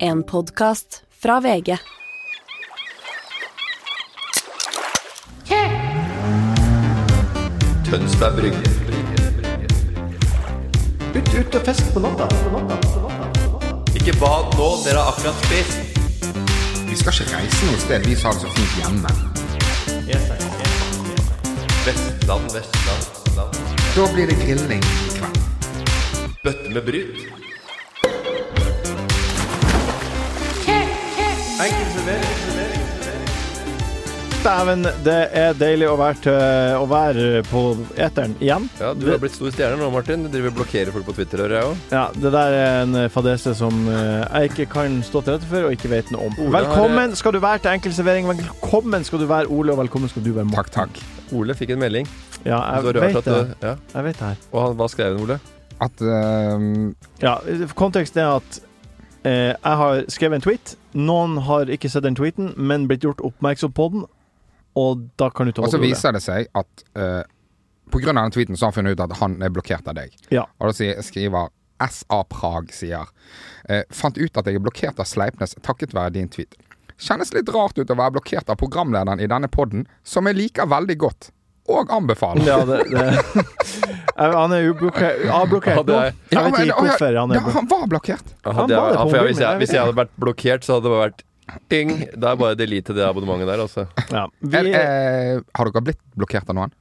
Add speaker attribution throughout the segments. Speaker 1: En podkast fra VG.
Speaker 2: Tønsberg Brygge. Ut, ut og fest på natta. Ikke bad nå, dere har akkurat spist.
Speaker 3: Vi skal ikke reise noe sted, vi som har det så fint hjemme.
Speaker 2: Vestland, Vestland, Vestland.
Speaker 3: Da blir det grilling i kveld.
Speaker 2: Bøtte med bryt.
Speaker 4: Dæven, det er deilig å være, til, å være på eteren igjen.
Speaker 2: Ja, du har blitt stor stjerne nå, Martin. Du driver og blokkerer folk på Twitter, hører jeg òg.
Speaker 4: Ja, Det der er en fadese som eh, jeg ikke kan stå til rette for, og ikke vet noe om.
Speaker 2: Ole har-
Speaker 4: Velkommen skal du være til Enkeltservering. Velkommen skal du være Ole, og velkommen skal du være Morten.
Speaker 3: Takk, takk.
Speaker 2: Ole fikk en melding. Så
Speaker 4: Ja, jeg
Speaker 2: rart
Speaker 4: vet
Speaker 2: at
Speaker 4: det.
Speaker 2: du- ja.
Speaker 4: Jeg vet det her.
Speaker 2: Og han, hva skrev han, Ole?
Speaker 3: At ehm,
Speaker 4: Ja, Konteksten er at eh, jeg har skrevet en tweet. Noen har ikke sett den tweeten, men blitt gjort oppmerksom på den, og da kan du ta
Speaker 3: Og
Speaker 2: Altså,
Speaker 3: så
Speaker 4: over, Ole.
Speaker 3: viser det seg at eh, på grunn av den tweeten så har han funnet ut at han er blokkert av deg.
Speaker 4: Ja.
Speaker 3: Og da sier- skriver SA Prag sier eh, Fant ut at jeg er blokkert av Sleipnes takket være din tweet. Kjennes litt rart ut å være blokkert av programlederen i denne podden, som jeg liker veldig godt. Og anbefaler.
Speaker 4: Ja, det, det. Jeg- Han er ublokkert.
Speaker 2: Ja,
Speaker 4: Avblokkert
Speaker 2: det
Speaker 4: nå.
Speaker 2: er-
Speaker 4: Jeg vet ikke hvorfor han er
Speaker 3: ja,
Speaker 4: blokkert.
Speaker 3: han var blokkert.
Speaker 2: Hadde
Speaker 4: var
Speaker 2: jeg,
Speaker 4: det på
Speaker 2: ja, for jeg,
Speaker 4: mobilen,
Speaker 2: hvis, jeg,
Speaker 4: jeg vet
Speaker 2: hvis jeg hadde vært blokkert, så hadde det bare vært ding. Da er det bare å delete det abonnementet der, altså.
Speaker 4: Ja,
Speaker 3: Er,
Speaker 4: vi,
Speaker 3: eh, har dere blitt blokkert av noen?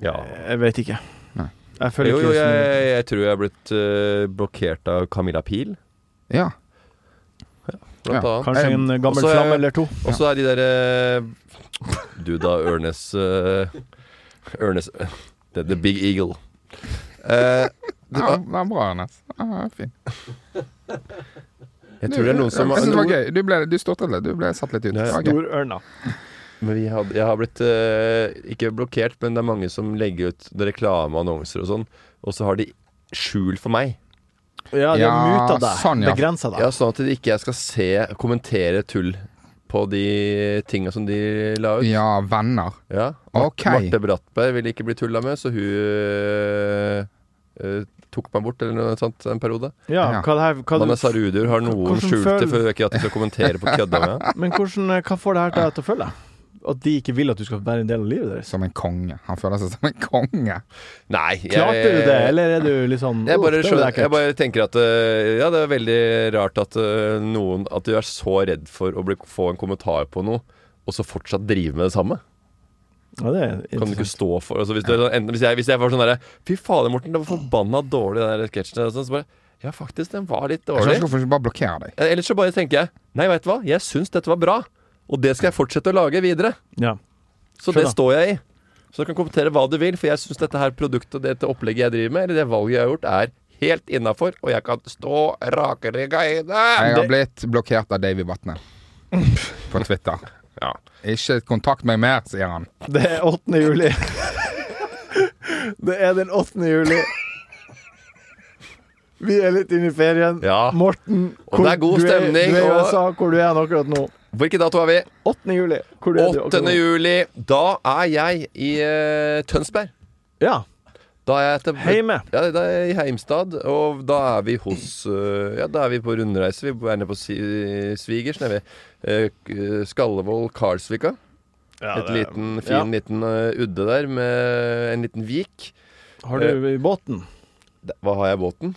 Speaker 2: Ja.
Speaker 4: Jeg vet ikke.
Speaker 3: Nei.
Speaker 4: Jeg føler
Speaker 2: Jo, jo,
Speaker 4: ikke så mye.
Speaker 2: jeg, jeg tror jeg er blitt eh, blokkert av Camilla Pil,
Speaker 3: Ja.
Speaker 2: blant
Speaker 3: Ja,
Speaker 2: annet.
Speaker 4: Kanskje
Speaker 3: Jeg-
Speaker 4: en gammel
Speaker 2: Også er-
Speaker 4: flamme eller to.
Speaker 2: Og så er de derre Du da, Ørnes eh, Ørnes eh, the, the Big Eagle. Eh,
Speaker 3: Det var, det var bra, Anders. Ja, fin.
Speaker 2: jeg tror det er noen som
Speaker 3: Jeg synes det var
Speaker 2: noen,
Speaker 3: gøy. Du, ble, du stortet litt. Du ble satt litt ut.
Speaker 2: Ja, ja.
Speaker 3: Det var gøy.
Speaker 4: Storørna.
Speaker 2: men jeg, har, jeg har blitt eh, ikke blokkert, men det er mange som legger ut reklame og annonser og sånn, og så har de skjul for meg.
Speaker 4: Ja, de har
Speaker 3: Ja,
Speaker 4: muta deg.
Speaker 3: sånn, ja.
Speaker 4: Begrensa deg.
Speaker 2: Ja, Sånn at ikke jeg skal se kommentere tull på de tinga som de la ut.
Speaker 3: Ja, venner.
Speaker 2: Ja.
Speaker 3: Ok.
Speaker 2: Marte Brattberg ville ikke bli tulla med, så hun eh, eh, tok meg bort eller noe sånt en periode.
Speaker 4: Ja,
Speaker 3: Ja.
Speaker 4: hva det her, hva
Speaker 2: Vanessa
Speaker 4: du,
Speaker 2: Rudiur har noe
Speaker 4: Hvordan
Speaker 2: skjult
Speaker 4: føler-
Speaker 2: det for ikke at de skal kommentere på kødda med.
Speaker 4: men hvordan, eh, hva får det her deg til å føle? At de ikke vil at du skal være en del av livet deres?
Speaker 3: Som en konge. Han føler seg som en konge.
Speaker 2: Nei, jeg,
Speaker 4: Klarte du det, eller er du litt sånn
Speaker 2: Jeg bare,
Speaker 4: «Uff, det var
Speaker 2: skjønner,
Speaker 4: ekkelt».
Speaker 2: jeg bare tenker at øh, Ja, det er veldig rart at øh, noen At du er så redd for å bli, få en kommentar på noe, og så fortsatt drive med det samme.
Speaker 4: ja, det er
Speaker 2: Kan du ikke
Speaker 4: interessant.
Speaker 2: stå for altså, hvis, du, er sånn- enten, hvis, jeg, hvis jeg var sånn derre Fy fader, Morten, det var forbanna dårlig, den der sketsjen. der», og sånn, Så bare Ja, faktisk, den var litt
Speaker 3: Jeg skjønner
Speaker 2: dårlig.
Speaker 3: ikke hvorfor du ikke bare blokkerer deg.
Speaker 2: Ja, Ellers så bare tenker jeg Nei, veit du hva, jeg syns dette var bra, og det skal jeg fortsette å lage videre.
Speaker 4: Ja.
Speaker 2: Så det
Speaker 4: Skjønner.
Speaker 2: står jeg i. Så du kan kommentere hva du vil, for jeg syns dette her produktet, dette opplegget jeg driver med, eller det valget jeg har gjort, er helt innafor, og jeg kan stå rakrygga i det.
Speaker 3: Jeg
Speaker 4: det-
Speaker 3: har blitt blokkert av Davy Vatne. På Twitter.
Speaker 2: Ja.
Speaker 3: Ikke kontakt meg mer, sier han.
Speaker 4: Det er 8. juli. det er den 8. juli. Vi er litt inne i ferien.
Speaker 2: Ja.
Speaker 4: Morten,
Speaker 2: Og det er god
Speaker 4: du
Speaker 2: stemning,
Speaker 4: Du er i
Speaker 2: og-
Speaker 4: USA, hvor du er han akkurat nå.
Speaker 2: Hvilken dato er vi?
Speaker 4: 8. juli. Hvor er du?
Speaker 2: 8. juli. Da er jeg i eh, Tønsberg.
Speaker 4: Ja.
Speaker 2: Da er jeg til
Speaker 4: Heime.
Speaker 2: Ja, da er jeg i Heimstad, og da er vi hos eh, Ja, da er vi på rundreise. Vi er nede på si, svigers, nede ved eh, K- Skallevold, Karlsvika. Et liten, fin
Speaker 4: ja.
Speaker 2: liten eh, udde der med en liten vik.
Speaker 4: Har du Eh, i båten?
Speaker 2: Da- Hva har jeg i båten?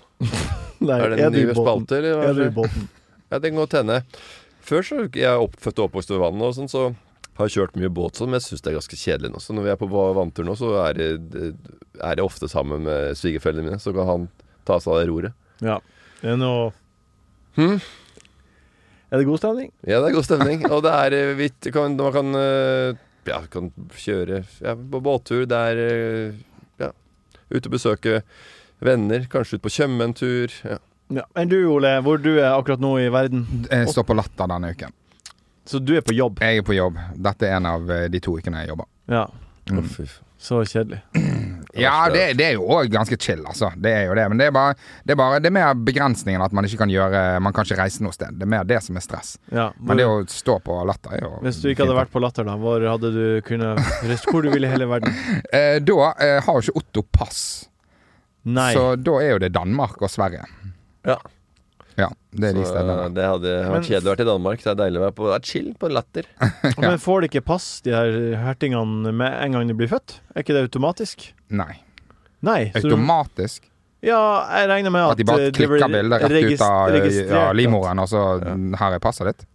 Speaker 4: Nei,
Speaker 2: Er det en ny spalte, eller? hva
Speaker 4: Er du i
Speaker 2: det?
Speaker 4: båten?
Speaker 2: Ja, det kan godt hende. Før så jeg er opp, født og oppvokst ved vannet og sånn, så har jeg kjørt mye båt sånn, men jeg syns det er ganske kjedelig nå. Så når vi er på va- vanntur nå, så er det, det- er det ofte sammen med svigerforeldrene mine. Så kan han ta seg av det roret.
Speaker 4: Ja. Det er noe
Speaker 2: Hm?
Speaker 4: Er det god stemning?
Speaker 2: Ja, det er god stemning. Og det er eh, vidt kan, Man kan, eh, ja, kan kjøre ja, på båttur. Det er eh, ja, ute og besøke venner. Kanskje ut på Tjøme en tur. Ja.
Speaker 4: Ja. Enn du, Ole, hvor du er akkurat nå i verden?
Speaker 3: Jeg står på Latter denne uken.
Speaker 4: Så du er på jobb?
Speaker 3: Jeg er på jobb. Dette er en av eh, de to ukene jeg jobber.
Speaker 4: Ja.
Speaker 3: Mm.
Speaker 2: Å, fy f-
Speaker 4: Så kjedelig.
Speaker 3: Ja, det, det er jo òg ganske chill, altså. Det er jo det. Men det er bare det er, bare, det er mer begrensningen at man ikke kan gjøre Man kan ikke reise noe sted. Det er mer det som er stress.
Speaker 4: Ja.
Speaker 3: Men det å stå på Latter er jo
Speaker 4: Hvis du ikke hadde
Speaker 3: fint.
Speaker 4: vært på Latter, da, hvor hadde du kunnet reist hvor du ville i hele verden?
Speaker 3: Eh, Da eh, har jo ikke Otto pass.
Speaker 4: Nei.
Speaker 3: Så da er jo det Danmark og Sverige.
Speaker 2: Ja.
Speaker 3: Ja, det er de
Speaker 2: Så,
Speaker 3: stedene.
Speaker 2: eh, det hadde
Speaker 4: Men-
Speaker 2: vært kjedelig å være til Danmark. Det er deilig å være på det er chill på latter.
Speaker 3: Ja.
Speaker 4: Men får de ikke pass, de her hertingene, med en gang de blir født? Er ikke det automatisk?
Speaker 3: Nei.
Speaker 4: Nei. så du-
Speaker 3: Automatisk.
Speaker 4: Ja, jeg regner med at
Speaker 3: At de bare
Speaker 4: eh, det blir
Speaker 3: klikker bildet rett ut
Speaker 4: regis-
Speaker 3: av eh,
Speaker 4: registrert
Speaker 3: ja,
Speaker 4: at-
Speaker 3: livmoren, og så
Speaker 2: Ja.
Speaker 3: her er passet ditt.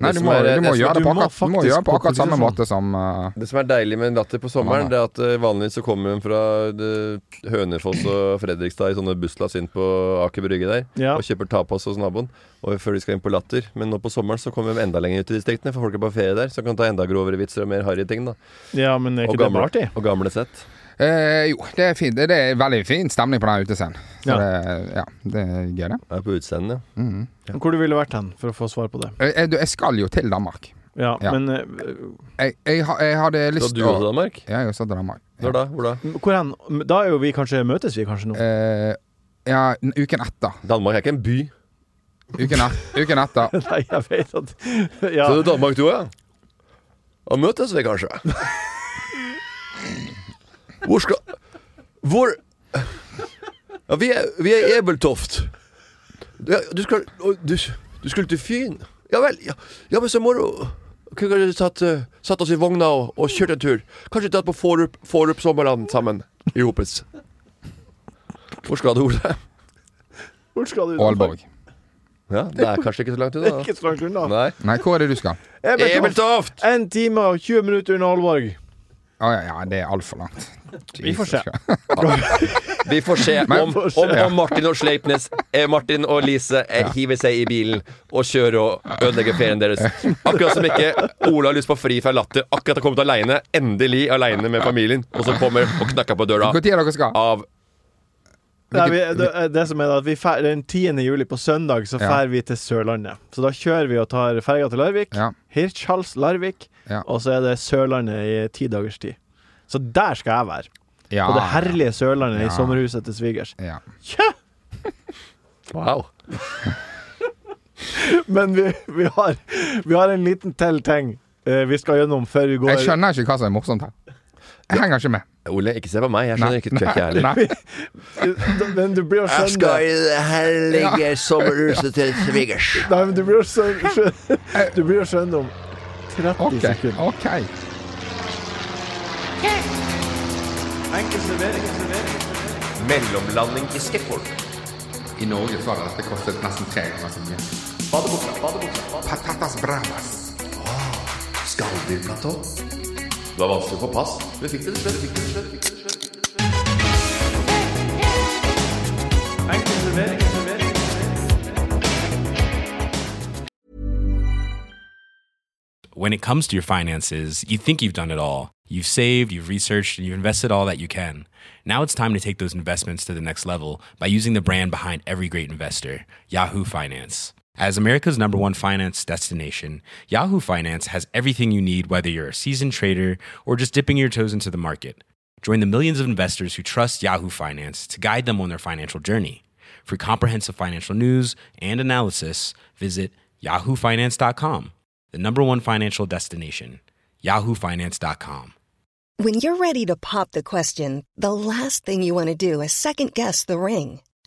Speaker 3: Nei,
Speaker 2: Det
Speaker 3: du
Speaker 2: som
Speaker 3: må,
Speaker 2: er-
Speaker 3: du må
Speaker 2: jeg
Speaker 3: gjøre
Speaker 4: tror
Speaker 3: det på
Speaker 4: du må
Speaker 3: akkurat, du må
Speaker 4: faktisk
Speaker 3: gjøre det på
Speaker 4: på
Speaker 3: akkurat samme
Speaker 4: konsesjon.
Speaker 3: måte som eh,
Speaker 2: Det som er deilig med latter på sommeren, det er at eh, vanligvis så kommer hun fra eh, Hønefoss og Fredrikstad i sånne busslass inn på Aker Brygge der.
Speaker 4: Ja.
Speaker 2: Og kjøper tapas hos naboen og før de skal inn på Latter. Men nå på sommeren så kommer de enda lenger ut i distriktene, for folk er på ferie der. Så kan de ta enda grovere vitser og mer harry ting, da.
Speaker 4: ja, men er
Speaker 2: Og
Speaker 4: ikke det bare
Speaker 2: gamle,
Speaker 4: artig?
Speaker 2: og gamle sett.
Speaker 3: eh, Jo, det er fint. Det det er veldig fin stemning på den utescenen. Så
Speaker 4: Ja.
Speaker 3: det, ja, det er gøy, det.
Speaker 2: Det er på utseende, ja.
Speaker 3: Mhm.
Speaker 4: Hvor du ville vært hen, for å få svar på det.
Speaker 3: Eh, eh, du, Jeg skal jo til Danmark.
Speaker 4: Ja,
Speaker 3: Ja.
Speaker 4: men eh,
Speaker 3: Jeg, jeg, ha- jeg hadde
Speaker 2: Så
Speaker 3: lyst
Speaker 2: du
Speaker 3: til å
Speaker 2: også, Danmark?
Speaker 3: Ja, jeg har også til Danmark. Ja.
Speaker 2: Når da? Hvor da?
Speaker 4: hvor hen? Da er jo vi kanskje Møtes vi kanskje nå?
Speaker 3: Eh, ja, n- uken etter.
Speaker 2: Danmark er ikke en by.
Speaker 3: Uken, et, uken etter.
Speaker 4: Nei, jeg vet at Ja.
Speaker 2: Så det er Danmark du òg, ja? Da møtes vi kanskje? Hvor skal Hvor Ja, vi er, vi er i Ebeltoft. Ja, du skal og du, du skulle til Fyn? Ja vel. Ja, ja men så må du Kunne kanskje tatt, eh, satt oss i vogna og, og kjørt en tur. Kanskje tatt på Forup, Forup Sommerland sammen. I hopets. Hvor skal du, Ole?
Speaker 4: Hvor skal du?
Speaker 3: Aalborg.
Speaker 2: Ja, det er kanskje ikke så langt
Speaker 4: Det er
Speaker 2: unna?
Speaker 4: ikke så langt
Speaker 2: da.
Speaker 4: unna.
Speaker 2: Nei.
Speaker 3: Nei, hvor er det du skal?
Speaker 4: Ebeltoft.
Speaker 2: Ebeltoft!
Speaker 4: En time og 20 minutter unna Aalborg.
Speaker 3: Å ja, ja, det er altfor langt.
Speaker 4: Vi får
Speaker 3: Jesus
Speaker 4: se.
Speaker 3: Christ.
Speaker 2: Vi får se
Speaker 3: Men-
Speaker 2: om,
Speaker 4: Får se.
Speaker 2: om, om Martin og Sleipnes eh, Martin og Lise eh, hiver seg i bilen og kjører og ødelegger ferien deres. Akkurat som ikke Ola har lyst på fri fra latter. Akkurat har kommet aleine, endelig aleine med familien, og så kommer og knakker på døra
Speaker 3: Hvor tid er dere skal?
Speaker 2: av
Speaker 4: Nei, vi, det, eh, det som er da, at vi fer, Den 10. juli på søndag så
Speaker 3: Ja.
Speaker 4: drar vi til Sørlandet. Så da kjører vi og tar ferga til Larvik.
Speaker 3: Ja.
Speaker 4: Hirtshals-Larvik.
Speaker 3: Ja.
Speaker 4: Og så er det Sørlandet i ti dagers tid. Så der skal jeg være.
Speaker 3: Ah, Ja.
Speaker 4: På det herlige Sørlandet
Speaker 3: Ja.
Speaker 4: i sommerhuset til svigers.
Speaker 3: Ja.
Speaker 4: Tja!
Speaker 2: Wow.
Speaker 4: Men vi, vi, har, vi har en liten til ting eh, vi skal gjennom før vi går.
Speaker 3: Jeg skjønner ikke hva som er morsomt her. Jeg henger ikke med.
Speaker 2: Ole, ikke se på meg. Jeg skjønner ikke trøkket jeg heller.
Speaker 3: Nei.
Speaker 4: Men du blir å skjønne
Speaker 2: i det herlige sommerhuset til svigers.
Speaker 4: Nei, men du blir å skjønne, skjønne, du blir å skjønne om 30
Speaker 3: OK.
Speaker 4: sekunder.
Speaker 3: ok
Speaker 2: Mellomlanding i Skepphol.
Speaker 3: I Norge så hadde dette kostet nesten tre ganger så mye. Patatas bravas.
Speaker 2: Skalldyrblatå. Det var vanskelig å få pass. Du fikk det til slutt. fikk det til slutt, fikk det til slutt.
Speaker 5: When it comes to your finances, you think you've done it all. You've saved, you've researched, and you've invested all that you can. Now it's time to take those investments to the next level by using the brand behind every great investor, Yahoo Finance. As America's number one finance destination, Yahoo Finance has everything you need, whether you're a seasoned trader or just dipping your toes into the market. Join the millions of investors who trust Yahoo Finance to guide them on their financial journey. For comprehensive financial news and analysis, visit yahoofinance.com, the number one financial destination, yahoofinance.com.
Speaker 6: When you're ready to pop the question, the last thing you want to do is second guess the ring.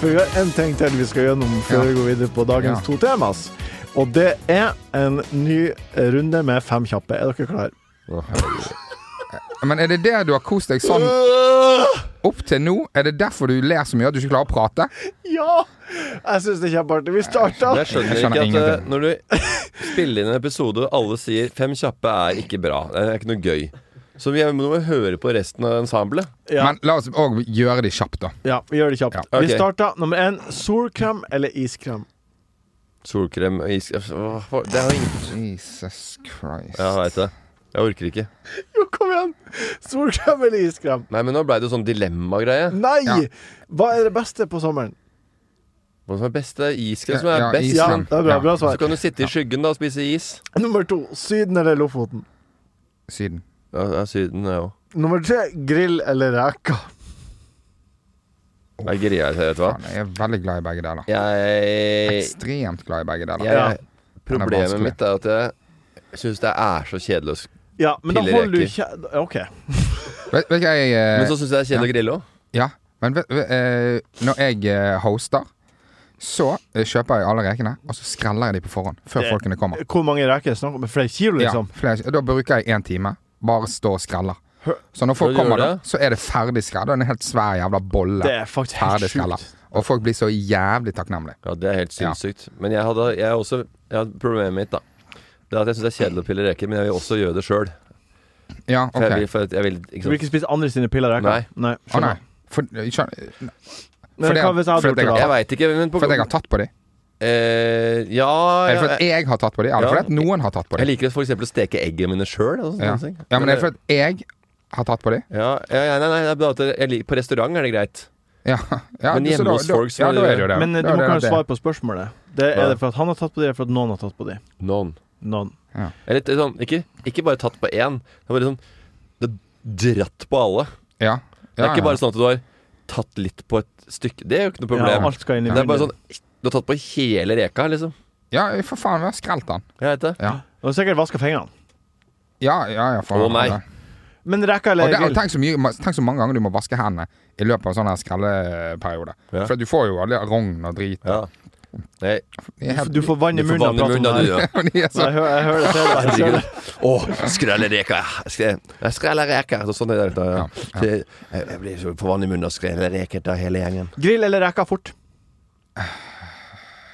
Speaker 4: For vi har en ting til vi skal gjennom før
Speaker 3: Ja.
Speaker 4: vi går videre på dagens
Speaker 3: Ja.
Speaker 4: to temas. Og det er en ny runde med fem kjappe. Er dere klare?
Speaker 3: Men er det det du har kost deg sånn opp til nå? Er det derfor du ler så mye at du ikke klarer å prate?
Speaker 4: Ja! Jeg syns det er kjempeartig. Vi starter.
Speaker 2: Jeg skjønner,
Speaker 3: Jeg skjønner
Speaker 2: ikke at eh,
Speaker 3: ingenting.
Speaker 2: når du spiller inn en episode og alle sier 'fem kjappe' er ikke bra, det er ikke noe gøy, så vi må jo høre på resten av ensemblet.
Speaker 4: Ja.
Speaker 3: Men la oss òg gjøre det kjapt, da.
Speaker 4: Ja, vi gjør det kjapt.
Speaker 2: Ja. Ok.
Speaker 4: Vi starter nummer én. Solkrem eller iskrem?
Speaker 2: Solkrem og is Åh, hva- Det har ingen
Speaker 3: Jesus Christ.
Speaker 2: Ja, jeg veit det. Jeg orker ikke.
Speaker 4: Jo, kom igjen! Solkrem eller iskrem?
Speaker 2: Nei, men nå blei det jo sånn dilemmagreie.
Speaker 4: Nei!
Speaker 3: Ja.
Speaker 4: Hva er det beste på sommeren?
Speaker 2: Hva som er best, det er iskrem som er
Speaker 3: Ja,
Speaker 2: best.
Speaker 4: Ja,
Speaker 3: Island.
Speaker 4: det er bra,
Speaker 3: Ja.
Speaker 4: bra
Speaker 2: Så
Speaker 4: svar.
Speaker 2: kan du sitte i skyggen da og spise is.
Speaker 4: Nummer to Syden eller Lofoten.
Speaker 3: Syden.
Speaker 2: Ja, det er Syden, det òg.
Speaker 4: Nummer tre grill eller reker.
Speaker 2: Jeg greier det, vet du hva.
Speaker 3: Faen, jeg er veldig glad i begge deler.
Speaker 2: Jeg,
Speaker 3: Ekstremt glad i begge deler.
Speaker 2: jeg,
Speaker 4: Ja.
Speaker 2: Problemet
Speaker 3: vanskelig.
Speaker 2: mitt er at jeg syns det er så kjedelig å sk-
Speaker 4: Ja, men da holder du ikke
Speaker 2: Pillereker.
Speaker 4: OK.
Speaker 3: Vet, vet du hva jeg eh,
Speaker 2: Men så syns jeg det er kjedelig å grille òg.
Speaker 3: Ja, men vet, vet, eh, når jeg eh, hoster, så eh, kjøper jeg alle rekene, og så skreller jeg de på forhånd, før
Speaker 4: Det-
Speaker 3: folkene kommer.
Speaker 4: Hvor mange reker er det snakk om? Flere kilo, liksom?
Speaker 3: Ja, flere, da bruker jeg én time. Bare stå og skreller. Så når folk
Speaker 2: Så du gjør
Speaker 3: kommer, da,
Speaker 2: det?
Speaker 3: så er det ferdig skrell. Da er det en helt svær jævla bolle.
Speaker 4: Det er faktisk helt
Speaker 3: ferdig skrella.
Speaker 4: sjukt.
Speaker 3: Og folk blir så jævlig takknemlige.
Speaker 2: Ja, det er helt
Speaker 3: Ja.
Speaker 2: sinnssykt. Men jeg hadde jeg har også jeg har Problemet mitt, da. Det er at jeg syns det er kjedelig å pille reker, men jeg vil også gjøre det sjøl.
Speaker 3: Ja,
Speaker 2: For jeg
Speaker 3: ok.
Speaker 2: vil, for at jeg vil
Speaker 4: Du vil
Speaker 2: ikke sant?
Speaker 4: ikke spise andre sine piller og reker?
Speaker 2: Nei.
Speaker 4: Nei.
Speaker 3: Å nei.
Speaker 4: skjønner.
Speaker 3: For, jeg skjønner-
Speaker 4: Men
Speaker 3: Fordi
Speaker 4: hva
Speaker 3: at- fordi
Speaker 4: hvis jeg hadde
Speaker 3: at jeg
Speaker 4: gjort det,
Speaker 2: Jeg
Speaker 4: da?
Speaker 2: veit ikke, men på
Speaker 3: for at jeg har tatt på de.
Speaker 2: eh, Ja,
Speaker 3: Er det
Speaker 2: ja
Speaker 3: fordi at jeg har tatt på de? Eller
Speaker 2: Ja.
Speaker 3: fordi at noen har tatt på
Speaker 2: Jeg
Speaker 3: de?
Speaker 2: liker for eksempel å steke eggene mine altså, sjøl.
Speaker 3: Ja. ja, men er det fordi at jeg har tatt på de?
Speaker 2: ja, ja, ja, nei, nei, det er bare at jeg lik- på restaurant er det greit.
Speaker 3: Ja. ja
Speaker 2: Men
Speaker 3: så
Speaker 2: hjemme
Speaker 3: da-
Speaker 2: hos
Speaker 3: da-
Speaker 2: folk så
Speaker 3: ja,
Speaker 2: er
Speaker 3: da
Speaker 2: det-
Speaker 3: er det jo det.
Speaker 4: Men eh,
Speaker 3: Da
Speaker 4: du
Speaker 3: er
Speaker 4: må
Speaker 3: det
Speaker 4: kanskje
Speaker 3: det.
Speaker 4: svare på spørsmålet. Det
Speaker 2: Ja.
Speaker 4: er det for at han har tatt på de, eller for at noen har tatt på de?
Speaker 2: Noen.
Speaker 4: Noen.
Speaker 2: Jeg er litt sånn, ikke, ikke bare tatt på én. Det er bare sånn Det er dratt på alle.
Speaker 3: Ja.
Speaker 2: Det er
Speaker 3: Ja,
Speaker 2: ikke
Speaker 3: ja.
Speaker 2: bare sånn at du har tatt litt på et stykke. Det er jo ikke noe
Speaker 4: Ja,
Speaker 2: problem.
Speaker 4: alt skal inn i
Speaker 2: det er bare
Speaker 4: munnen.
Speaker 2: sånn Du har tatt på hele reka, liksom.
Speaker 3: Ja, for faen, vi har skrelt den.
Speaker 2: Jeg vet det.
Speaker 3: Ja,
Speaker 4: Du har sikkert vaska fingrene.
Speaker 3: ja, ja. ja for,
Speaker 2: Å, nei.
Speaker 3: ja.
Speaker 4: Men
Speaker 3: Og
Speaker 4: reker eller
Speaker 3: det, og
Speaker 4: grill?
Speaker 3: tenk, så mye, tenk så mange ganger du må vaske hendene i løpet av en sånn her skrelleperiode.
Speaker 2: Ja.
Speaker 3: For du får jo alle rogn og drit.
Speaker 2: Ja. Nei,
Speaker 3: De er helt-
Speaker 4: Du får vann
Speaker 2: du
Speaker 4: i
Speaker 2: får
Speaker 4: munnen av
Speaker 2: vann i munnen
Speaker 4: praten
Speaker 2: da, du. ja.
Speaker 4: her.
Speaker 3: de er så,
Speaker 4: Jeg hø- jeg hører det selv. Jeg ser det.
Speaker 2: Herregud. Å, skrellereka. Skrellereka. Så sånn er det. Ja.
Speaker 3: Ja, ja.
Speaker 2: Det- Jeg jeg blir så for vann i munnen av skrellereket av hele gjengen.
Speaker 4: Grill eller reker fort?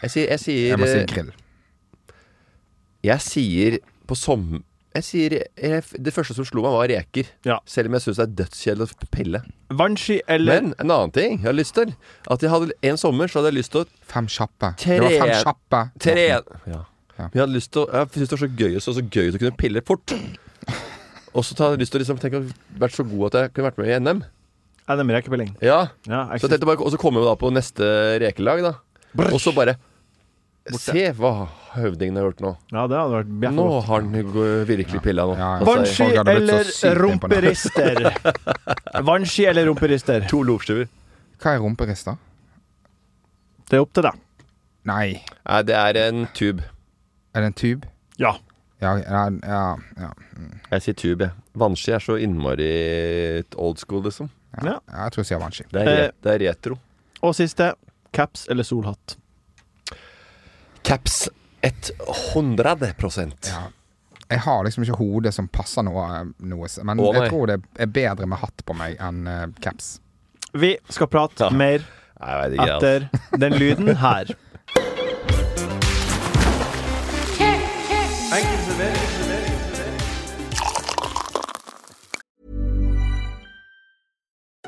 Speaker 2: Jeg sier, jeg
Speaker 3: jeg
Speaker 2: sier,
Speaker 3: må si
Speaker 2: eh,
Speaker 3: grill.
Speaker 2: jeg sier på sommer jeg sier, jeg, Det første som slo meg, var reker.
Speaker 4: Ja.
Speaker 2: Selv om jeg syns det er dødskjedelig å pille.
Speaker 4: Vannski eller
Speaker 2: Men en annen ting jeg har lyst til At jeg hadde En sommer så hadde jeg lyst til å
Speaker 3: Fem kjappe.
Speaker 2: Tre-
Speaker 3: Det var fem kjappe.
Speaker 2: Tre ja.
Speaker 3: Ja.
Speaker 2: Jeg hadde lyst til å Jeg synes det var så gøy Så, så gøy ut å kunne pille fort Og så hadde jeg lyst til å liksom Tenke at jeg hadde vært så god at jeg kunne vært med i NM
Speaker 4: NM rekepilling?
Speaker 2: Ja
Speaker 4: Ja, jeg
Speaker 2: Så jeg tenkte bare Og så kommer vi da på neste rekelag da Og så bare Se hva høvdingen har gjort nå
Speaker 4: ja, det hadde vært bjeffa
Speaker 2: Nå
Speaker 4: godt.
Speaker 2: har han jo virkelig pilla nå Altså,
Speaker 3: Ja, ja.
Speaker 2: Han sier,
Speaker 4: Vannski
Speaker 3: Folk hadde blitt så
Speaker 4: eller
Speaker 3: sykt
Speaker 4: rumperister? Vannski eller rumperister?
Speaker 2: To lopskiver
Speaker 3: Hva er rumperister?
Speaker 4: Det er opp til deg.
Speaker 3: Nei,
Speaker 2: Nei, det er en tube
Speaker 3: er det en tube?
Speaker 4: Ja.
Speaker 3: Ja, ja, ja, ja.
Speaker 2: Jeg sier tube, jeg Vannski er så innmari old school liksom
Speaker 4: ja.
Speaker 3: Ja, Jeg tror jeg sier vanski.
Speaker 2: Det er, re- det er retro
Speaker 4: Og siste. Caps eller solhatt?
Speaker 2: Caps 100%
Speaker 3: Ja. Jeg har liksom ikke hodet som passer noe, noe s- men
Speaker 2: Å, nei.
Speaker 3: jeg tror det er bedre med hatt på meg enn eh, caps.
Speaker 4: Vi skal prate
Speaker 2: Ja.
Speaker 4: mer
Speaker 2: Jeg vet ikke, altså.
Speaker 4: etter den lyden her.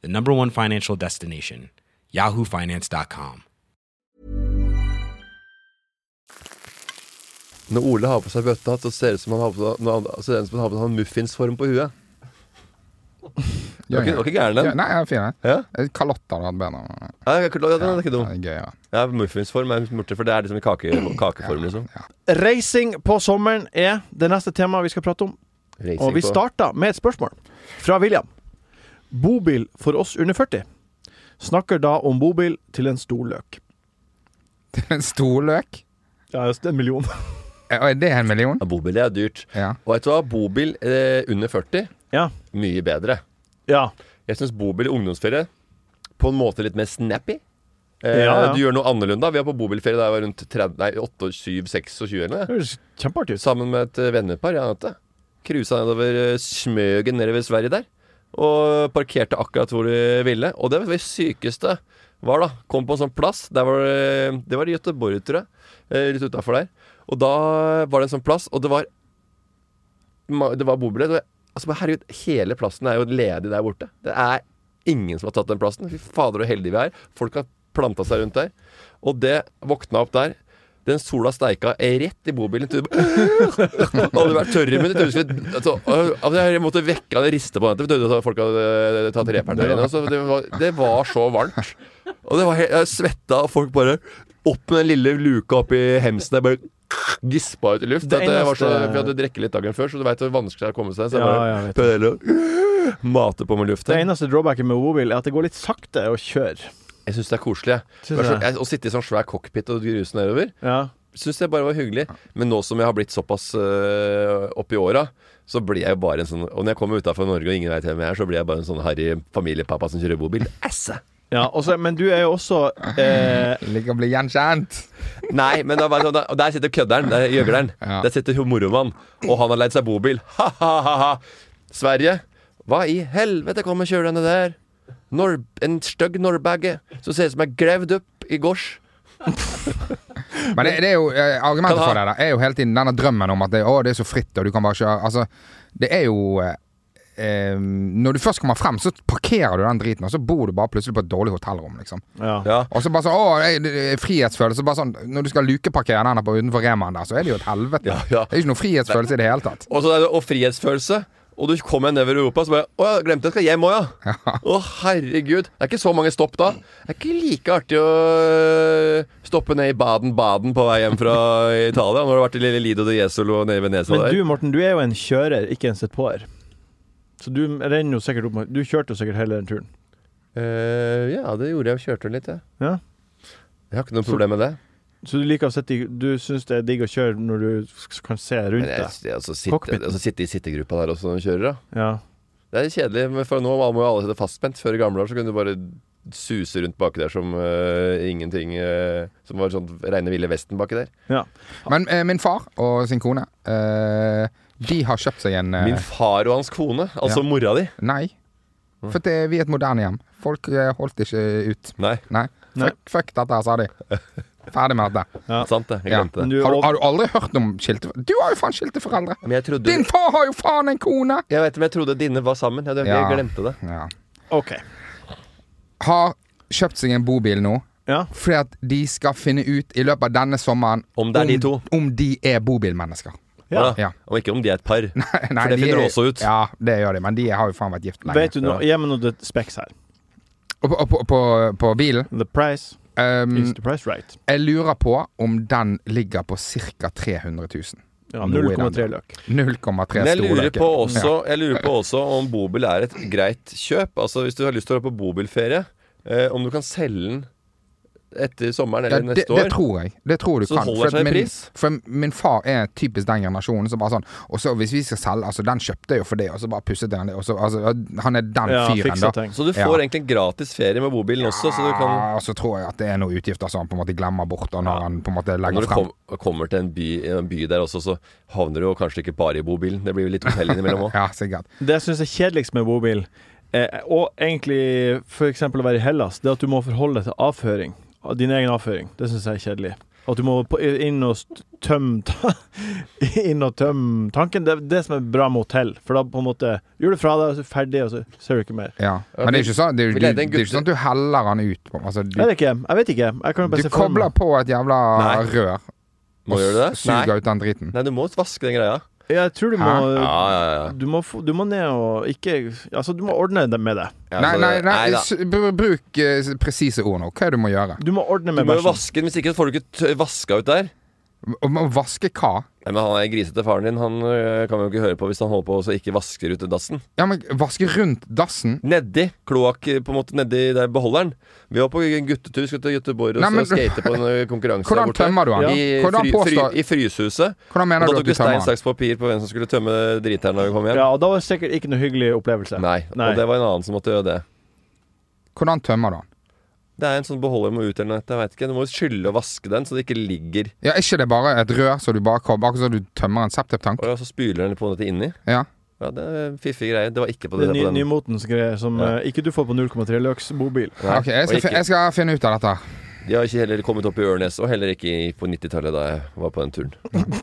Speaker 5: the number one financial destination, yahoofinance.com.
Speaker 2: Når Ole har på seg bøttehatt, så ser det ut som han har på seg, når han, så ser det ut som han har på seg en muffinsform på huet. Det var ikke, det var ikke gæren,
Speaker 3: Ja,
Speaker 2: den.
Speaker 3: nei, jeg er fin, jeg.
Speaker 2: Ja?
Speaker 3: Eh, Kalotter hadde vært bedre.
Speaker 2: Ja, jeg kan- ja, den er ikke dum.
Speaker 3: Ja, det er gøyere.
Speaker 2: Ja, muffinsform er morsomt, for det er liksom i kake, kakeform, liksom.
Speaker 4: Reising på sommeren er det neste temaet vi skal prate om.
Speaker 2: Reising
Speaker 4: Og vi
Speaker 2: på-
Speaker 4: starta med et spørsmål fra William. Bobil for oss under 40. Snakker da om bobil til en stor løk.
Speaker 3: til en stolløk.
Speaker 4: Ja, just en million.
Speaker 3: Eh, og Er det en million?
Speaker 2: Ja, bobil er dyrt.
Speaker 3: Ja.
Speaker 2: Og vet du hva, bobil eh, under 40,
Speaker 4: Ja.
Speaker 2: mye bedre.
Speaker 4: ja.
Speaker 2: Jeg syns bobil i ungdomsferie på en måte litt mer snappy. Eh,
Speaker 4: Ja, ja.
Speaker 2: Du gjør noe annerledes. da. Vi var på bobilferie da jeg var rundt 30, nei, 8, 7, 26 eller noe.
Speaker 4: Det høres kjempeartig ut.
Speaker 2: Sammen med et eh, vennepar. Jeg hadde. Cruisa nedover eh, Smøgen nedover Sverige der. Og parkerte akkurat hvor de ville. Og det var det sykeste var, da. Kom på en sånn plass. Der var det, det var i Göteborg, tror jeg. Eh, Litt utafor der. Og da var det en sånn plass, og det var ma- Det var bobiler. og jeg- Altså, bare, herregud, hele plassen er jo ledig der borte. Det er ingen som har tatt den plassen. Fy fader, så heldige vi er. Folk har planta seg rundt der. Og det våkna opp der. Den sola steika rett i bobilen. Du bare, hadde vært tørre men jeg, altså, øh, altså, jeg måtte vekke han og riste på den. Jeg trodde at Folk hadde øh, tatt reperen der inne. Altså, det, var, det var så varmt. Og det var helt, jeg svetta, og folk bare Opp med den lille luka oppi hemsen der, bare gispa ut i luft.
Speaker 4: Det
Speaker 2: at jeg var så,
Speaker 4: eneste-
Speaker 2: vi hadde drukket litt dagen før, så du veit hvor vanskelig det er å komme seg. Så jeg
Speaker 4: Ja,
Speaker 2: bare
Speaker 4: jeg vet
Speaker 2: prøvde heller å mate på med
Speaker 4: Det
Speaker 2: lufta.
Speaker 4: eneste drawbacket med bobil er at det går litt sakte å kjøre.
Speaker 2: Jeg syns det er koselig. jeg.
Speaker 4: Synes
Speaker 2: Bare så-
Speaker 4: det.
Speaker 2: jeg- Å sitte i sånn svær cockpit og gruse nedover.
Speaker 4: Ja.
Speaker 2: syns jeg bare var hyggelig. Men nå som jeg har blitt såpass øh, opp i åra, så blir jeg jo bare en sånn Og når jeg kommer utafor Norge og ingen veit hvem jeg er, så blir jeg bare en sånn harry familiepappa som kjører bobil. Esse!
Speaker 4: ja og så- men du er jo også eh,
Speaker 3: Ligger og blir gjenkjent.
Speaker 2: Nei, men da, var det sånn, og der sitter kødderen, der gjøgleren.
Speaker 3: Ja.
Speaker 2: Der sitter moromann, og han har leid seg bobil. Ha-ha-ha! Sverige. Hva i helvete kommer kjørende der? Nor en stygg norrbagge som ser ut som er gravd opp i gårs.
Speaker 3: Men det, det er jo, eh, argumentet
Speaker 2: Kan ha-
Speaker 3: for det da, er jo hele tiden denne drømmen om at det, å, det er så fritt, og du kan bare kjøre Altså, det er jo eh, eh, Når du først kommer frem, så parkerer du den driten, og så bor du bare plutselig på et dårlig hotellrom, liksom.
Speaker 4: ja.
Speaker 2: Ja.
Speaker 3: Og så bare sånn, å, det er- det er frihetsfølelse. Bare sånn, når du skal lukeparkere den her på utenfor Remaen der, så er det jo et helvete.
Speaker 2: Ja, ja.
Speaker 3: Det er ikke noe frihetsfølelse i det hele tatt.
Speaker 2: Og, så er det, og frihetsfølelse. Og du kommer nedover i Europa, så bare Å, jeg glemte jeg skal hjem òg, ja. Å, herregud. Det er ikke så mange stopp da. Det er ikke like artig å øh, stoppe ned i Baden-Baden på vei hjem fra Italia. Når du har vært i lille Lido de Jesolo og nede i Venezia
Speaker 4: Men
Speaker 2: der.
Speaker 4: du, Morten, du er jo en kjører, ikke en sittpåer. Så du renner jo sikkert opp med Du kjørte jo sikkert hele den turen.
Speaker 2: Eh, ja, det gjorde jeg. Kjørte litt, jeg.
Speaker 4: Ja.
Speaker 2: Jeg har ikke noe problem med det.
Speaker 4: Så du liker å sitte i Du syns det er digg å kjøre når du s- kan se rundt
Speaker 2: Men jeg,
Speaker 4: deg?
Speaker 2: jeg, altså, sitte,
Speaker 4: Cockpiten.
Speaker 2: altså, sitte i sittegruppa der også når du kjører, da.
Speaker 4: Ja.
Speaker 2: Det er kjedelig, men for nå må jo alle sitte fastspent. Før i gamle år så kunne du bare suse rundt baki der som øh, ingenting øh, Som var sånn reine ville vesten baki der.
Speaker 4: ja.
Speaker 3: Men eh, min far og sin kone, eh, de har kjøpt seg en eh,
Speaker 2: Min far og hans kone, altså mora di.
Speaker 3: Nei.
Speaker 2: Mm.
Speaker 3: For det, vi er et moderne hjem. Folk eh, holdt ikke ut.
Speaker 2: Nei,
Speaker 3: Nei.
Speaker 4: Nei.
Speaker 3: Fuck, fuck dette, her, sa de. Ferdig med dette.
Speaker 2: sant det. Jeg
Speaker 3: Ja.
Speaker 2: glemte
Speaker 4: Men
Speaker 2: det.
Speaker 4: du,
Speaker 3: Har du, har du aldri hørt om skilte Du har jo faen skilte foreldre!
Speaker 2: Men jeg trodde
Speaker 3: Din far har jo faen en kone!
Speaker 2: Jeg vet det, men jeg trodde dine var sammen. Jeg, jeg
Speaker 3: Ja.
Speaker 2: glemte det.
Speaker 3: Ja.
Speaker 4: OK.
Speaker 3: Har kjøpt seg en bobil nå.
Speaker 4: Ja.
Speaker 3: Fordi at de skal finne ut i løpet av denne sommeren
Speaker 2: Om det er de to.
Speaker 3: om de er bobilmennesker.
Speaker 4: Ja.
Speaker 2: Hva da?
Speaker 3: Ja.
Speaker 2: Og ikke om de er et par.
Speaker 3: Nei,
Speaker 2: For det
Speaker 3: de
Speaker 2: finner du
Speaker 3: er-
Speaker 2: også ut.
Speaker 3: Ja, det gjør de, men de har jo faen vært gift lenge.
Speaker 4: Vet du, nå, gi meg noe specs her.
Speaker 3: Og på, og på, på, på bilen
Speaker 4: The price
Speaker 3: ehm,
Speaker 4: is the price right.
Speaker 3: Jeg lurer på om den ligger på ca. 300 000.
Speaker 4: Ja,
Speaker 3: Noe i den
Speaker 4: 0,3
Speaker 3: duren.
Speaker 4: løk.
Speaker 3: 0,3
Speaker 2: Men jeg lurer,
Speaker 3: storløker.
Speaker 2: på også, jeg lurer på også om bobil er et greit kjøp. Altså Hvis du har lyst til å dra på bobilferie, eh, om du kan selge den etter sommeren
Speaker 3: Ja,
Speaker 2: eller
Speaker 3: det,
Speaker 2: neste
Speaker 3: det
Speaker 2: år.
Speaker 3: tror jeg. Det tror du
Speaker 2: Så
Speaker 3: kan.
Speaker 2: holder
Speaker 3: For at
Speaker 2: seg i
Speaker 3: min,
Speaker 2: pris?
Speaker 3: For min far er typisk den generasjonen som bare sånn Og så hvis vi skal selge Altså, den kjøpte jeg jo for det, og så bare pusset jeg den det, og så altså, Han er den
Speaker 4: Ja,
Speaker 3: fyren,
Speaker 4: fiksa
Speaker 3: da.
Speaker 4: ting.
Speaker 2: Så du
Speaker 3: Ja.
Speaker 2: får egentlig gratis ferie med bobilen også, så du kan
Speaker 3: Ja, og så tror jeg at det er noen utgifter som han på en måte glemmer bort, og når han på en måte
Speaker 2: Når
Speaker 3: legger
Speaker 2: du
Speaker 3: frem
Speaker 2: kom, kommer til en by, en by der også, så havner du jo kanskje ikke bare i bobilen. Det blir jo litt hotell innimellom òg.
Speaker 3: Ja, sikkert.
Speaker 4: Det jeg syns er kjedeligst med bobil, eh, og egentlig f.eks. å være i Hellas, det er at du må forholde deg til avføring. Din egen avføring. Det syns jeg er kjedelig. At du må på- inn og st- tømme ta- Inn og tømme tanken. Det er det som er bra med hotell, for da på en måte gjør du fra deg, og så er du ferdig, og så ser du ikke mer.
Speaker 3: Ja. Men det er ikke sånn, det er,
Speaker 2: vi
Speaker 3: jo-
Speaker 2: leder en
Speaker 3: det er ikke
Speaker 2: gutte-
Speaker 3: sånn at du heller han ut. på- Altså,
Speaker 4: Jeg
Speaker 3: du,
Speaker 4: vet ikke. Jeg vet ikke. Jeg kan jo bare
Speaker 3: du
Speaker 4: se for
Speaker 3: kobler
Speaker 4: meg
Speaker 3: på et jævla
Speaker 2: Nei.
Speaker 3: rør
Speaker 2: Må
Speaker 3: og
Speaker 2: gjøre det?
Speaker 3: s-
Speaker 2: Nei.
Speaker 3: suger ut den driten.
Speaker 2: Nei, du må vaske den greia.
Speaker 4: Jeg tror du
Speaker 3: Hæ?
Speaker 2: Ja,
Speaker 4: må
Speaker 2: ja, ja.
Speaker 4: du må, få- du må ned og ikke Altså, du må ordne det med det.
Speaker 2: ja
Speaker 3: nei,
Speaker 2: så-
Speaker 3: nei, nei,
Speaker 2: da.
Speaker 3: s- br- bruk eh, s- presise ord nå. Hva er det du må gjøre?
Speaker 4: Du må
Speaker 2: Du
Speaker 4: ordne med
Speaker 2: må jo
Speaker 4: bæsjen.
Speaker 2: vaske den, hvis ikke så får du ikke t- vaska ut der.
Speaker 3: Om å vaske hva?
Speaker 2: Nei, men han er grisete faren din. Han øh, kan vi jo ikke høre på hvis han holder på og ikke vasker ut dassen.
Speaker 3: Ja, men vaske rundt dassen?
Speaker 2: Nedi kloakk, på en måte nedi der beholderen. Vi var på guttetur, vi skulle til Göteborg og
Speaker 3: Nei, men-
Speaker 2: så skate på en øh, konkurranse
Speaker 3: Hvordan tømmer du den?
Speaker 2: I,
Speaker 3: Hvordan
Speaker 2: fry, fry,
Speaker 3: påstår-
Speaker 2: I Fryshuset.
Speaker 3: Hvordan
Speaker 2: Og
Speaker 3: mener
Speaker 2: da
Speaker 3: du
Speaker 2: tok
Speaker 3: at du
Speaker 2: vi stein,
Speaker 3: tømmer den?
Speaker 2: saks, papir på hvem som skulle tømme driteren da vi kom hjem.
Speaker 4: Ja, og da var det sikkert ikke noe hyggelig opplevelse.
Speaker 2: Nei.
Speaker 4: Nei.
Speaker 2: Og det var en annen som måtte gjøre det.
Speaker 3: Hvordan tømmer du den?
Speaker 2: Det er en sånn beholder med ut eller noe, jeg vet ikke. Du må jo skylle og vaske den, så det ikke ligger
Speaker 3: Ja, er ikke det bare et rør så du bare kommer Akkurat som du tømmer en septiptank?
Speaker 2: Og så spyler den på dette inni.
Speaker 3: Ja.
Speaker 2: Ja, det er fiffige greier. Det var ikke på det.
Speaker 4: Det er ny,
Speaker 2: på den.
Speaker 4: nymotens greier som
Speaker 2: Ja.
Speaker 4: eh, ikke du får på 0,3 løks bobil.
Speaker 2: Nei,
Speaker 3: Ok, jeg skal,
Speaker 2: og
Speaker 3: fi-
Speaker 2: ikke,
Speaker 3: jeg skal finne ut av dette. her.
Speaker 2: De har ikke heller kommet opp i Ørnes, og heller ikke i- på 90-tallet da jeg var på den turen.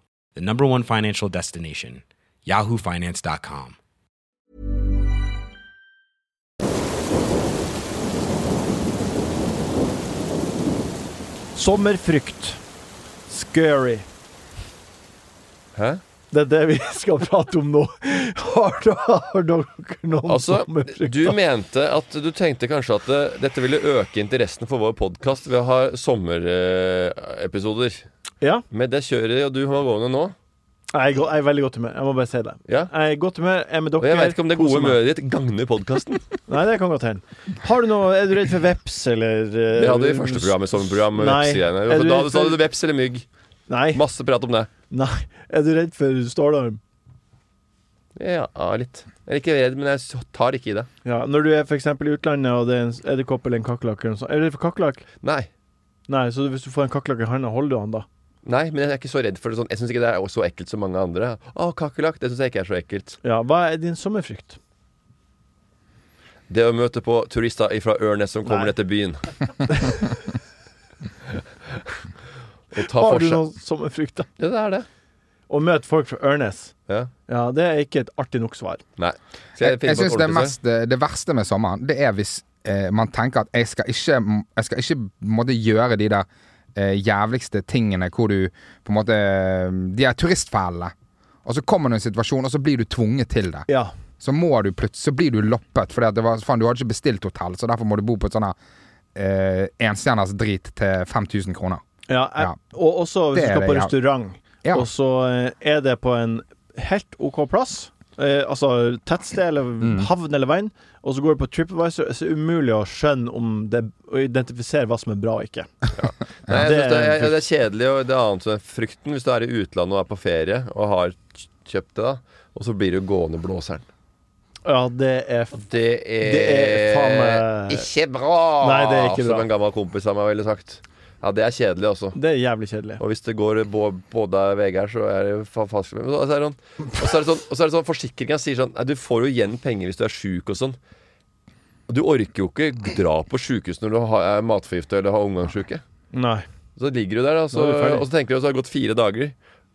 Speaker 5: the number one financial destination, yahoofinance.com.
Speaker 4: Sommerfrykt. Scary.
Speaker 2: Hæ?
Speaker 4: Det er det vi skal prate om nå. Har da- har dere noen
Speaker 2: Altså,
Speaker 4: sommerfrykt?
Speaker 2: du mente at du tenkte kanskje at eh, dette ville øke interessen for vår podkast ved å ha sommerepisoder.
Speaker 4: Ja,
Speaker 2: Med det kjøret og du har gående nå
Speaker 4: jeg er, go- jeg er veldig godt humør. Jeg må bare si det.
Speaker 2: Ja.
Speaker 4: Jeg er i godt humør, jeg er med dere.
Speaker 2: Og jeg veit ikke om det gode
Speaker 4: koser meg.
Speaker 2: humøret ditt gagner podkasten.
Speaker 4: Nei, det kan godt hende. Har du noe Er du redd for veps, eller eh,
Speaker 2: Det hadde vi i første program i sommerprogram. med
Speaker 4: Nei.
Speaker 2: vepsegreiene.
Speaker 4: Er du
Speaker 2: Da
Speaker 4: redd
Speaker 2: sa du
Speaker 4: for-
Speaker 2: veps eller mygg.
Speaker 4: Nei.
Speaker 2: Masse prat om det.
Speaker 4: Nei. Er du redd for stålarm?
Speaker 2: Ja, litt. Jeg er ikke redd, men jeg s- tar ikke i det.
Speaker 4: Ja, når du er for eksempel i utlandet, og det er en edderkopp eller en kakerlakk eller noe sånt. Er du redd for kakerlakk?
Speaker 2: Nei.
Speaker 4: Nei, så hvis du får en kakerlakk i handa, holder du han da?
Speaker 2: Nei, men jeg er ikke så redd for det. Sånn. Jeg syns ikke det er så ekkelt som mange andre. Å, kakerlakk. Det syns jeg ikke er så ekkelt.
Speaker 4: Ja. Hva er din sommerfrykt?
Speaker 2: Det å møte på turister fra Ørnes som kommer
Speaker 4: Nei.
Speaker 2: ned til byen. Og ta
Speaker 4: Har
Speaker 2: for
Speaker 4: du
Speaker 2: seg
Speaker 4: noen sommerfrykt, da?
Speaker 2: Ja, det er det.
Speaker 4: Å møte folk fra Ørnes.
Speaker 2: Ja.
Speaker 4: Ja, det er ikke et artig nok svar.
Speaker 2: Nei. Skal jeg
Speaker 3: Jeg,
Speaker 2: finne
Speaker 3: jeg
Speaker 2: på et
Speaker 3: syns det,
Speaker 2: ordentlig svar?
Speaker 3: mest- eh, det verste med sommeren, det er hvis eh, man tenker at jeg skal ikke, jeg skal ikke på en måte gjøre de der eh, jævligste tingene hvor du på en måte De er turistfellene. Og så kommer du i en situasjon, og så blir du tvunget til det.
Speaker 4: Ja.
Speaker 3: Så må du plutselig Så blir du loppet, fordi at det var, faen, du hadde ikke bestilt hotell, så derfor må du bo på et sånn her eh, enstjerners drit til 5000 kroner.
Speaker 4: ja, jeg,
Speaker 3: Ja.
Speaker 4: Og også hvis
Speaker 3: Det
Speaker 4: du
Speaker 3: er
Speaker 4: skal
Speaker 3: det,
Speaker 4: på
Speaker 3: ja.
Speaker 4: restaurant,
Speaker 3: Ja.
Speaker 4: og så eh, er det på en helt OK plass. Eh, altså tettsted eller
Speaker 3: Mm.
Speaker 4: havn eller veien, og så går du på TripAdvisor, så er det umulig å skjønne om det Å identifisere hva som er bra og ikke.
Speaker 2: Nei, jeg
Speaker 4: Det
Speaker 2: synes det,
Speaker 4: er en
Speaker 2: er, ja, det er kjedelig, og det er annet som er frykten hvis du er i utlandet og er på ferie og har kj- kjøpt det, da. Og så blir du gående blåseren.
Speaker 4: Ja, det er f...
Speaker 2: Det er,
Speaker 4: Det er faen meg-
Speaker 2: ikke bra!
Speaker 4: Nei, det er ikke bra.
Speaker 2: Som en gammel kompis av meg ville sagt. Ja, det er kjedelig også.
Speaker 4: Det er jævlig kjedelig.
Speaker 2: Og hvis det går bå- både veier, så er det fa- falsk men så- så er det sånn- Og så er det sånn, og så er det sånn forsikringa sier sånn Nei, du får jo igjen penger hvis du er sjuk og sånn. Og Du orker jo ikke dra på sjukehus når du har, er matforgifta eller har omgangssjuke.
Speaker 4: Nei.
Speaker 2: Så ligger du der, da, så,
Speaker 4: Da er du ferdig.
Speaker 2: og så tenker du at det har gått fire dager.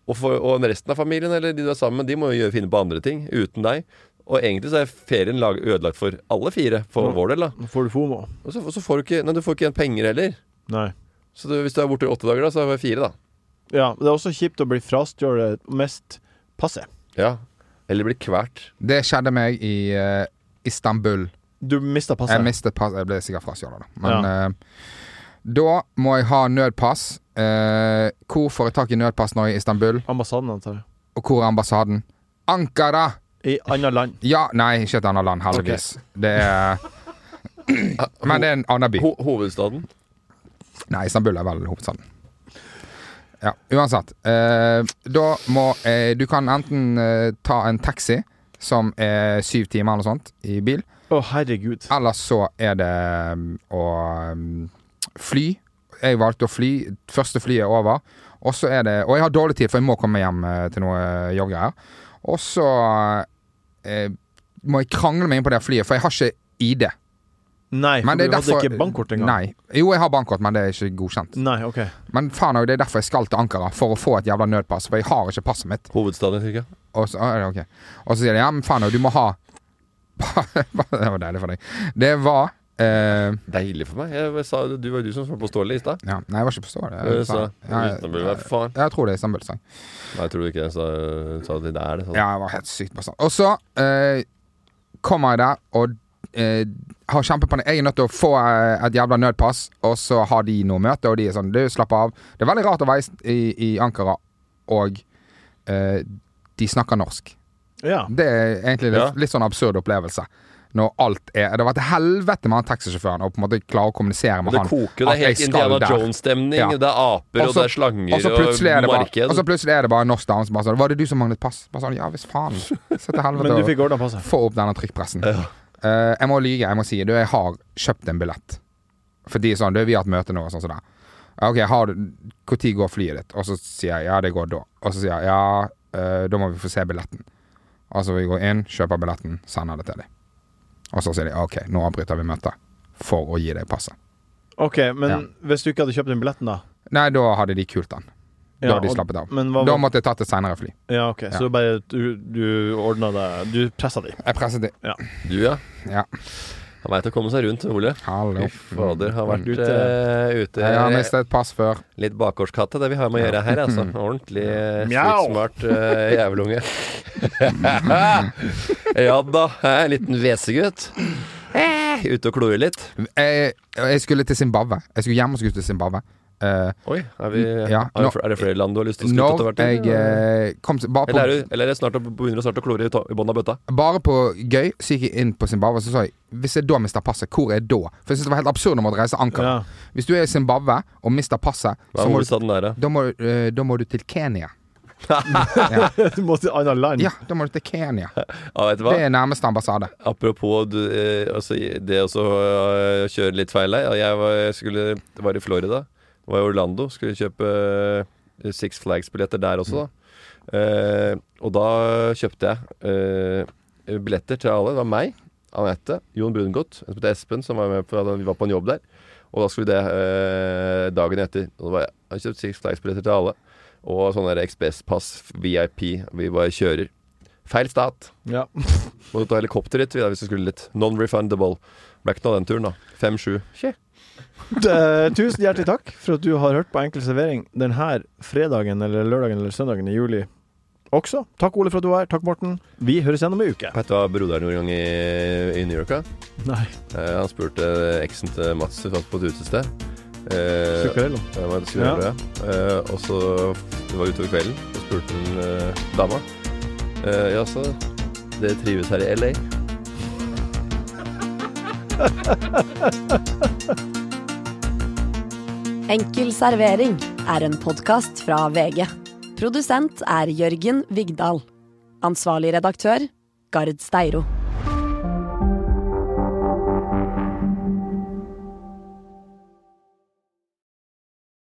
Speaker 2: Og, for, og resten av familien eller de du er sammen med, de må jo gjøre- finne på andre ting uten deg. Og egentlig så er ferien lag, ødelagt for alle fire, for
Speaker 4: Ja.
Speaker 2: vår del. da
Speaker 4: Nå får du FOMO.
Speaker 2: Og så, og så får du ikke Nei, du får ikke igjen penger heller.
Speaker 4: Nei.
Speaker 2: Så du, hvis du er borte i åtte dager, da, så er det fire, da.
Speaker 4: Ja, det er også kjipt å bli frastjålet mest passe.
Speaker 2: Ja. Eller blir kvært.
Speaker 3: Det skjedde meg i eh, Istanbul.
Speaker 4: Du mista passet.
Speaker 3: Jeg mistet pass Jeg ble sikkert frastjålet, da. Men eh, Da må jeg ha nødpass. Eh, hvor får jeg tak i nødpass nå i Istanbul?
Speaker 4: Ambassaden, antar jeg.
Speaker 3: Og hvor er ambassaden? Ankara!
Speaker 4: I annet land.
Speaker 3: Ja, nei, ikke et annet land, heldigvis. Det er Men det er en annen by.
Speaker 2: hovedstaden?
Speaker 3: Nei, Istanbul er vel hovedstaden. Ja, uansett. Eh, da må eh, Du kan enten eh, ta en taxi, som er syv timer eller noe sånt, i bil.
Speaker 4: Å, herregud.
Speaker 3: Eller så er det mm, å mm, fly. Jeg valgte å fly. Første flyet er over. Og så er det Og jeg har dårlig tid, for jeg må komme hjem eh, til noe jobbgreier. Og så eh, må jeg krangle meg inn på det flyet, for jeg har ikke ID.
Speaker 4: Nei, for
Speaker 3: Men det
Speaker 4: du
Speaker 3: er derfor,
Speaker 4: hadde ikke bankkort engang.
Speaker 3: Nei. Jo, jeg har bankkort, men det er ikke godkjent.
Speaker 4: Nei, ok.
Speaker 3: Men faen òg, det er derfor jeg skal til Ankara, for å få et jævla nødpass. For jeg har ikke passet mitt.
Speaker 2: Hovedstaden i Tyrkia?
Speaker 3: Og så, ah, ok. og så sier de ja, men faen òg, du må ha Det var deilig for deg. Det var eh,
Speaker 2: Deilig for meg. Jeg sa, du var jo du som var påståelig i stad.
Speaker 3: ja, Nei, jeg var ikke på stål.
Speaker 2: Du
Speaker 3: Jeg,
Speaker 2: sa
Speaker 3: ja,
Speaker 2: Istanbul, hva faen?
Speaker 3: jeg tror det er Istanbul. Sang.
Speaker 2: Nei, jeg tror ikke jeg sa, sa det der. Det, sa.
Speaker 3: Ja, jeg var helt sykt bastant. Og så eh, kommer jeg der og eh, har kjempepanikk. Jeg er nødt til å få eh, et jævla nødpass, og så har de noe møte, og de er sånn Du, slapp av. Det er veldig rart å være i, i Ankara, og eh, de snakker norsk.
Speaker 4: Ja.
Speaker 3: Det er egentlig litt,
Speaker 2: Ja.
Speaker 3: litt sånn absurd opplevelse. Når alt er Det var til helvete med han taxisjåføren å på en måte klare å kommunisere med
Speaker 2: det
Speaker 3: han.
Speaker 2: koker, det
Speaker 3: at
Speaker 2: er helt
Speaker 3: jeg skal
Speaker 2: Indiana
Speaker 3: der.
Speaker 2: Jones-stemning.
Speaker 3: Ja.
Speaker 2: Det er aper, og,
Speaker 3: Og så-
Speaker 2: det er slanger,
Speaker 3: Og så plutselig er det bare,
Speaker 2: marked.
Speaker 3: og så plutselig er det bare en norsk dame som bare sånn Var det du som manglet pass? Bare sånn, ja visst faen. Så til helvete.
Speaker 4: Men du
Speaker 3: og-
Speaker 4: fikk ordna passet.
Speaker 3: Få opp denne trykkpressen. Eh, jeg må lyge, jeg må si du, jeg har kjøpt en billett. For de er sånn, du, vi har et møte nå, og sånn som det. Ja, Ok, har du, hvor tid går flyet ditt? Og så sier jeg, ja, det går da. Og så sier jeg, ja, eh, da må vi få se billetten. Altså, vi går inn, kjøper billetten, sender det til dem. Og så sier de, ok, nå avbryter vi møtet for å gi deg passet.
Speaker 4: Ok, men
Speaker 3: Ja.
Speaker 4: hvis du ikke hadde kjøpt den billetten, da?
Speaker 3: Nei, da hadde de kult den. Da
Speaker 4: Ja,
Speaker 3: hadde de
Speaker 4: og-
Speaker 3: slappet av.
Speaker 4: Men hva,
Speaker 3: Da måtte jeg tatt et senere fly.
Speaker 4: ja, ok,
Speaker 3: Ja.
Speaker 4: Så bare du, du ordna deg Du pressa de.
Speaker 3: Jeg presset de.
Speaker 2: Du, ja.
Speaker 3: Ja.
Speaker 2: Han veit å komme seg rundt, Ole.
Speaker 3: Hallo. Mm.
Speaker 2: Fy fader, har vært
Speaker 4: Ute.
Speaker 2: ute, ute
Speaker 3: Jeg har mistet et pass før.
Speaker 2: Litt bakgårdskatte, det vi har med å gjøre her, altså. Ordentlig eh,
Speaker 4: Mjau.
Speaker 2: sykt smart eh, jævelunge. ja da, jeg er en liten hvesegutt. Eh, Ute og klorer litt.
Speaker 3: Jeg, jeg skulle til Zimbabwe. Jeg skulle hjem og skulle til Zimbabwe. Eh,
Speaker 2: Oi, er, vi,
Speaker 3: Ja,
Speaker 2: er, det
Speaker 3: nå-
Speaker 2: fl- er det flere land du har lyst til å skryte
Speaker 3: når
Speaker 2: av
Speaker 3: jeg
Speaker 2: hvert til?
Speaker 3: eh, kom til, bare,
Speaker 2: Eller, er
Speaker 3: på,
Speaker 2: du, eller er det snart å, begynner du snart å klore i, ta- i bånn av bøtta?
Speaker 3: bare på gøy, så gikk jeg inn på Zimbabwe og så sa jeg Hvis jeg da mister passet, hvor er jeg da? For jeg synes det var helt absurd å måtte reise Ankara.
Speaker 4: Ja.
Speaker 3: Hvis du er i Zimbabwe og mister passet,
Speaker 2: Hva
Speaker 3: så
Speaker 2: er
Speaker 3: må du,
Speaker 2: hovedstaden der, da?
Speaker 3: da, må, eh, da må du til Kenya.
Speaker 4: Du må til annet land.
Speaker 3: Ja, da må du til Kenya.
Speaker 2: Ja, vet du hva?
Speaker 3: Det er nærmeste ambassade.
Speaker 2: Apropos du, eh, altså, det også å kjøre litt feil her. Jeg var, jeg skulle, var i Florida. Var i Orlando. Skulle kjøpe eh, Six Flags-billetter der også, da. Eh, og da kjøpte jeg eh, billetter til alle. Det var meg, Anette, Jon Brungot, en som heter Espen, som var med på, da vi var på en jobb der. Og da skulle vi det eh, dagen etter. Og da var jeg, jeg har kjøpt Six Flags-billetter til alle. Og sånne der ekspresspass, VIP. Vi bare kjører. Feil stat.
Speaker 4: Ja.
Speaker 2: Må du ta helikopter dit vi, da, hvis du skulle litt. Non-refundable. Ble ikke noe av den turen, da. 5-7.
Speaker 4: Eh, tusen hjertelig takk for at du har hørt på Enkel servering denne fredagen eller lørdagen eller søndagen i juli også. Takk, Ole, for at du var her. Takk, Morten. Vi høres igjen om ei uke.
Speaker 2: Vet du hva broderen gjorde en gang i, i New York? da?
Speaker 4: Nei.
Speaker 2: Eh, han spurte eksen til Mats som satt på et utested. Eh,
Speaker 4: Zuccarello.
Speaker 2: ja, men det skulle
Speaker 4: Ja.
Speaker 2: være det. Eh, og så det var utover kvelden, og spurte han eh, dama. Eh, ja, så Dere trives her i LA?
Speaker 1: Enkel servering er en podkast fra VG. Produsent er Jørgen Vigdal. Ansvarlig redaktør, Gard Steiro.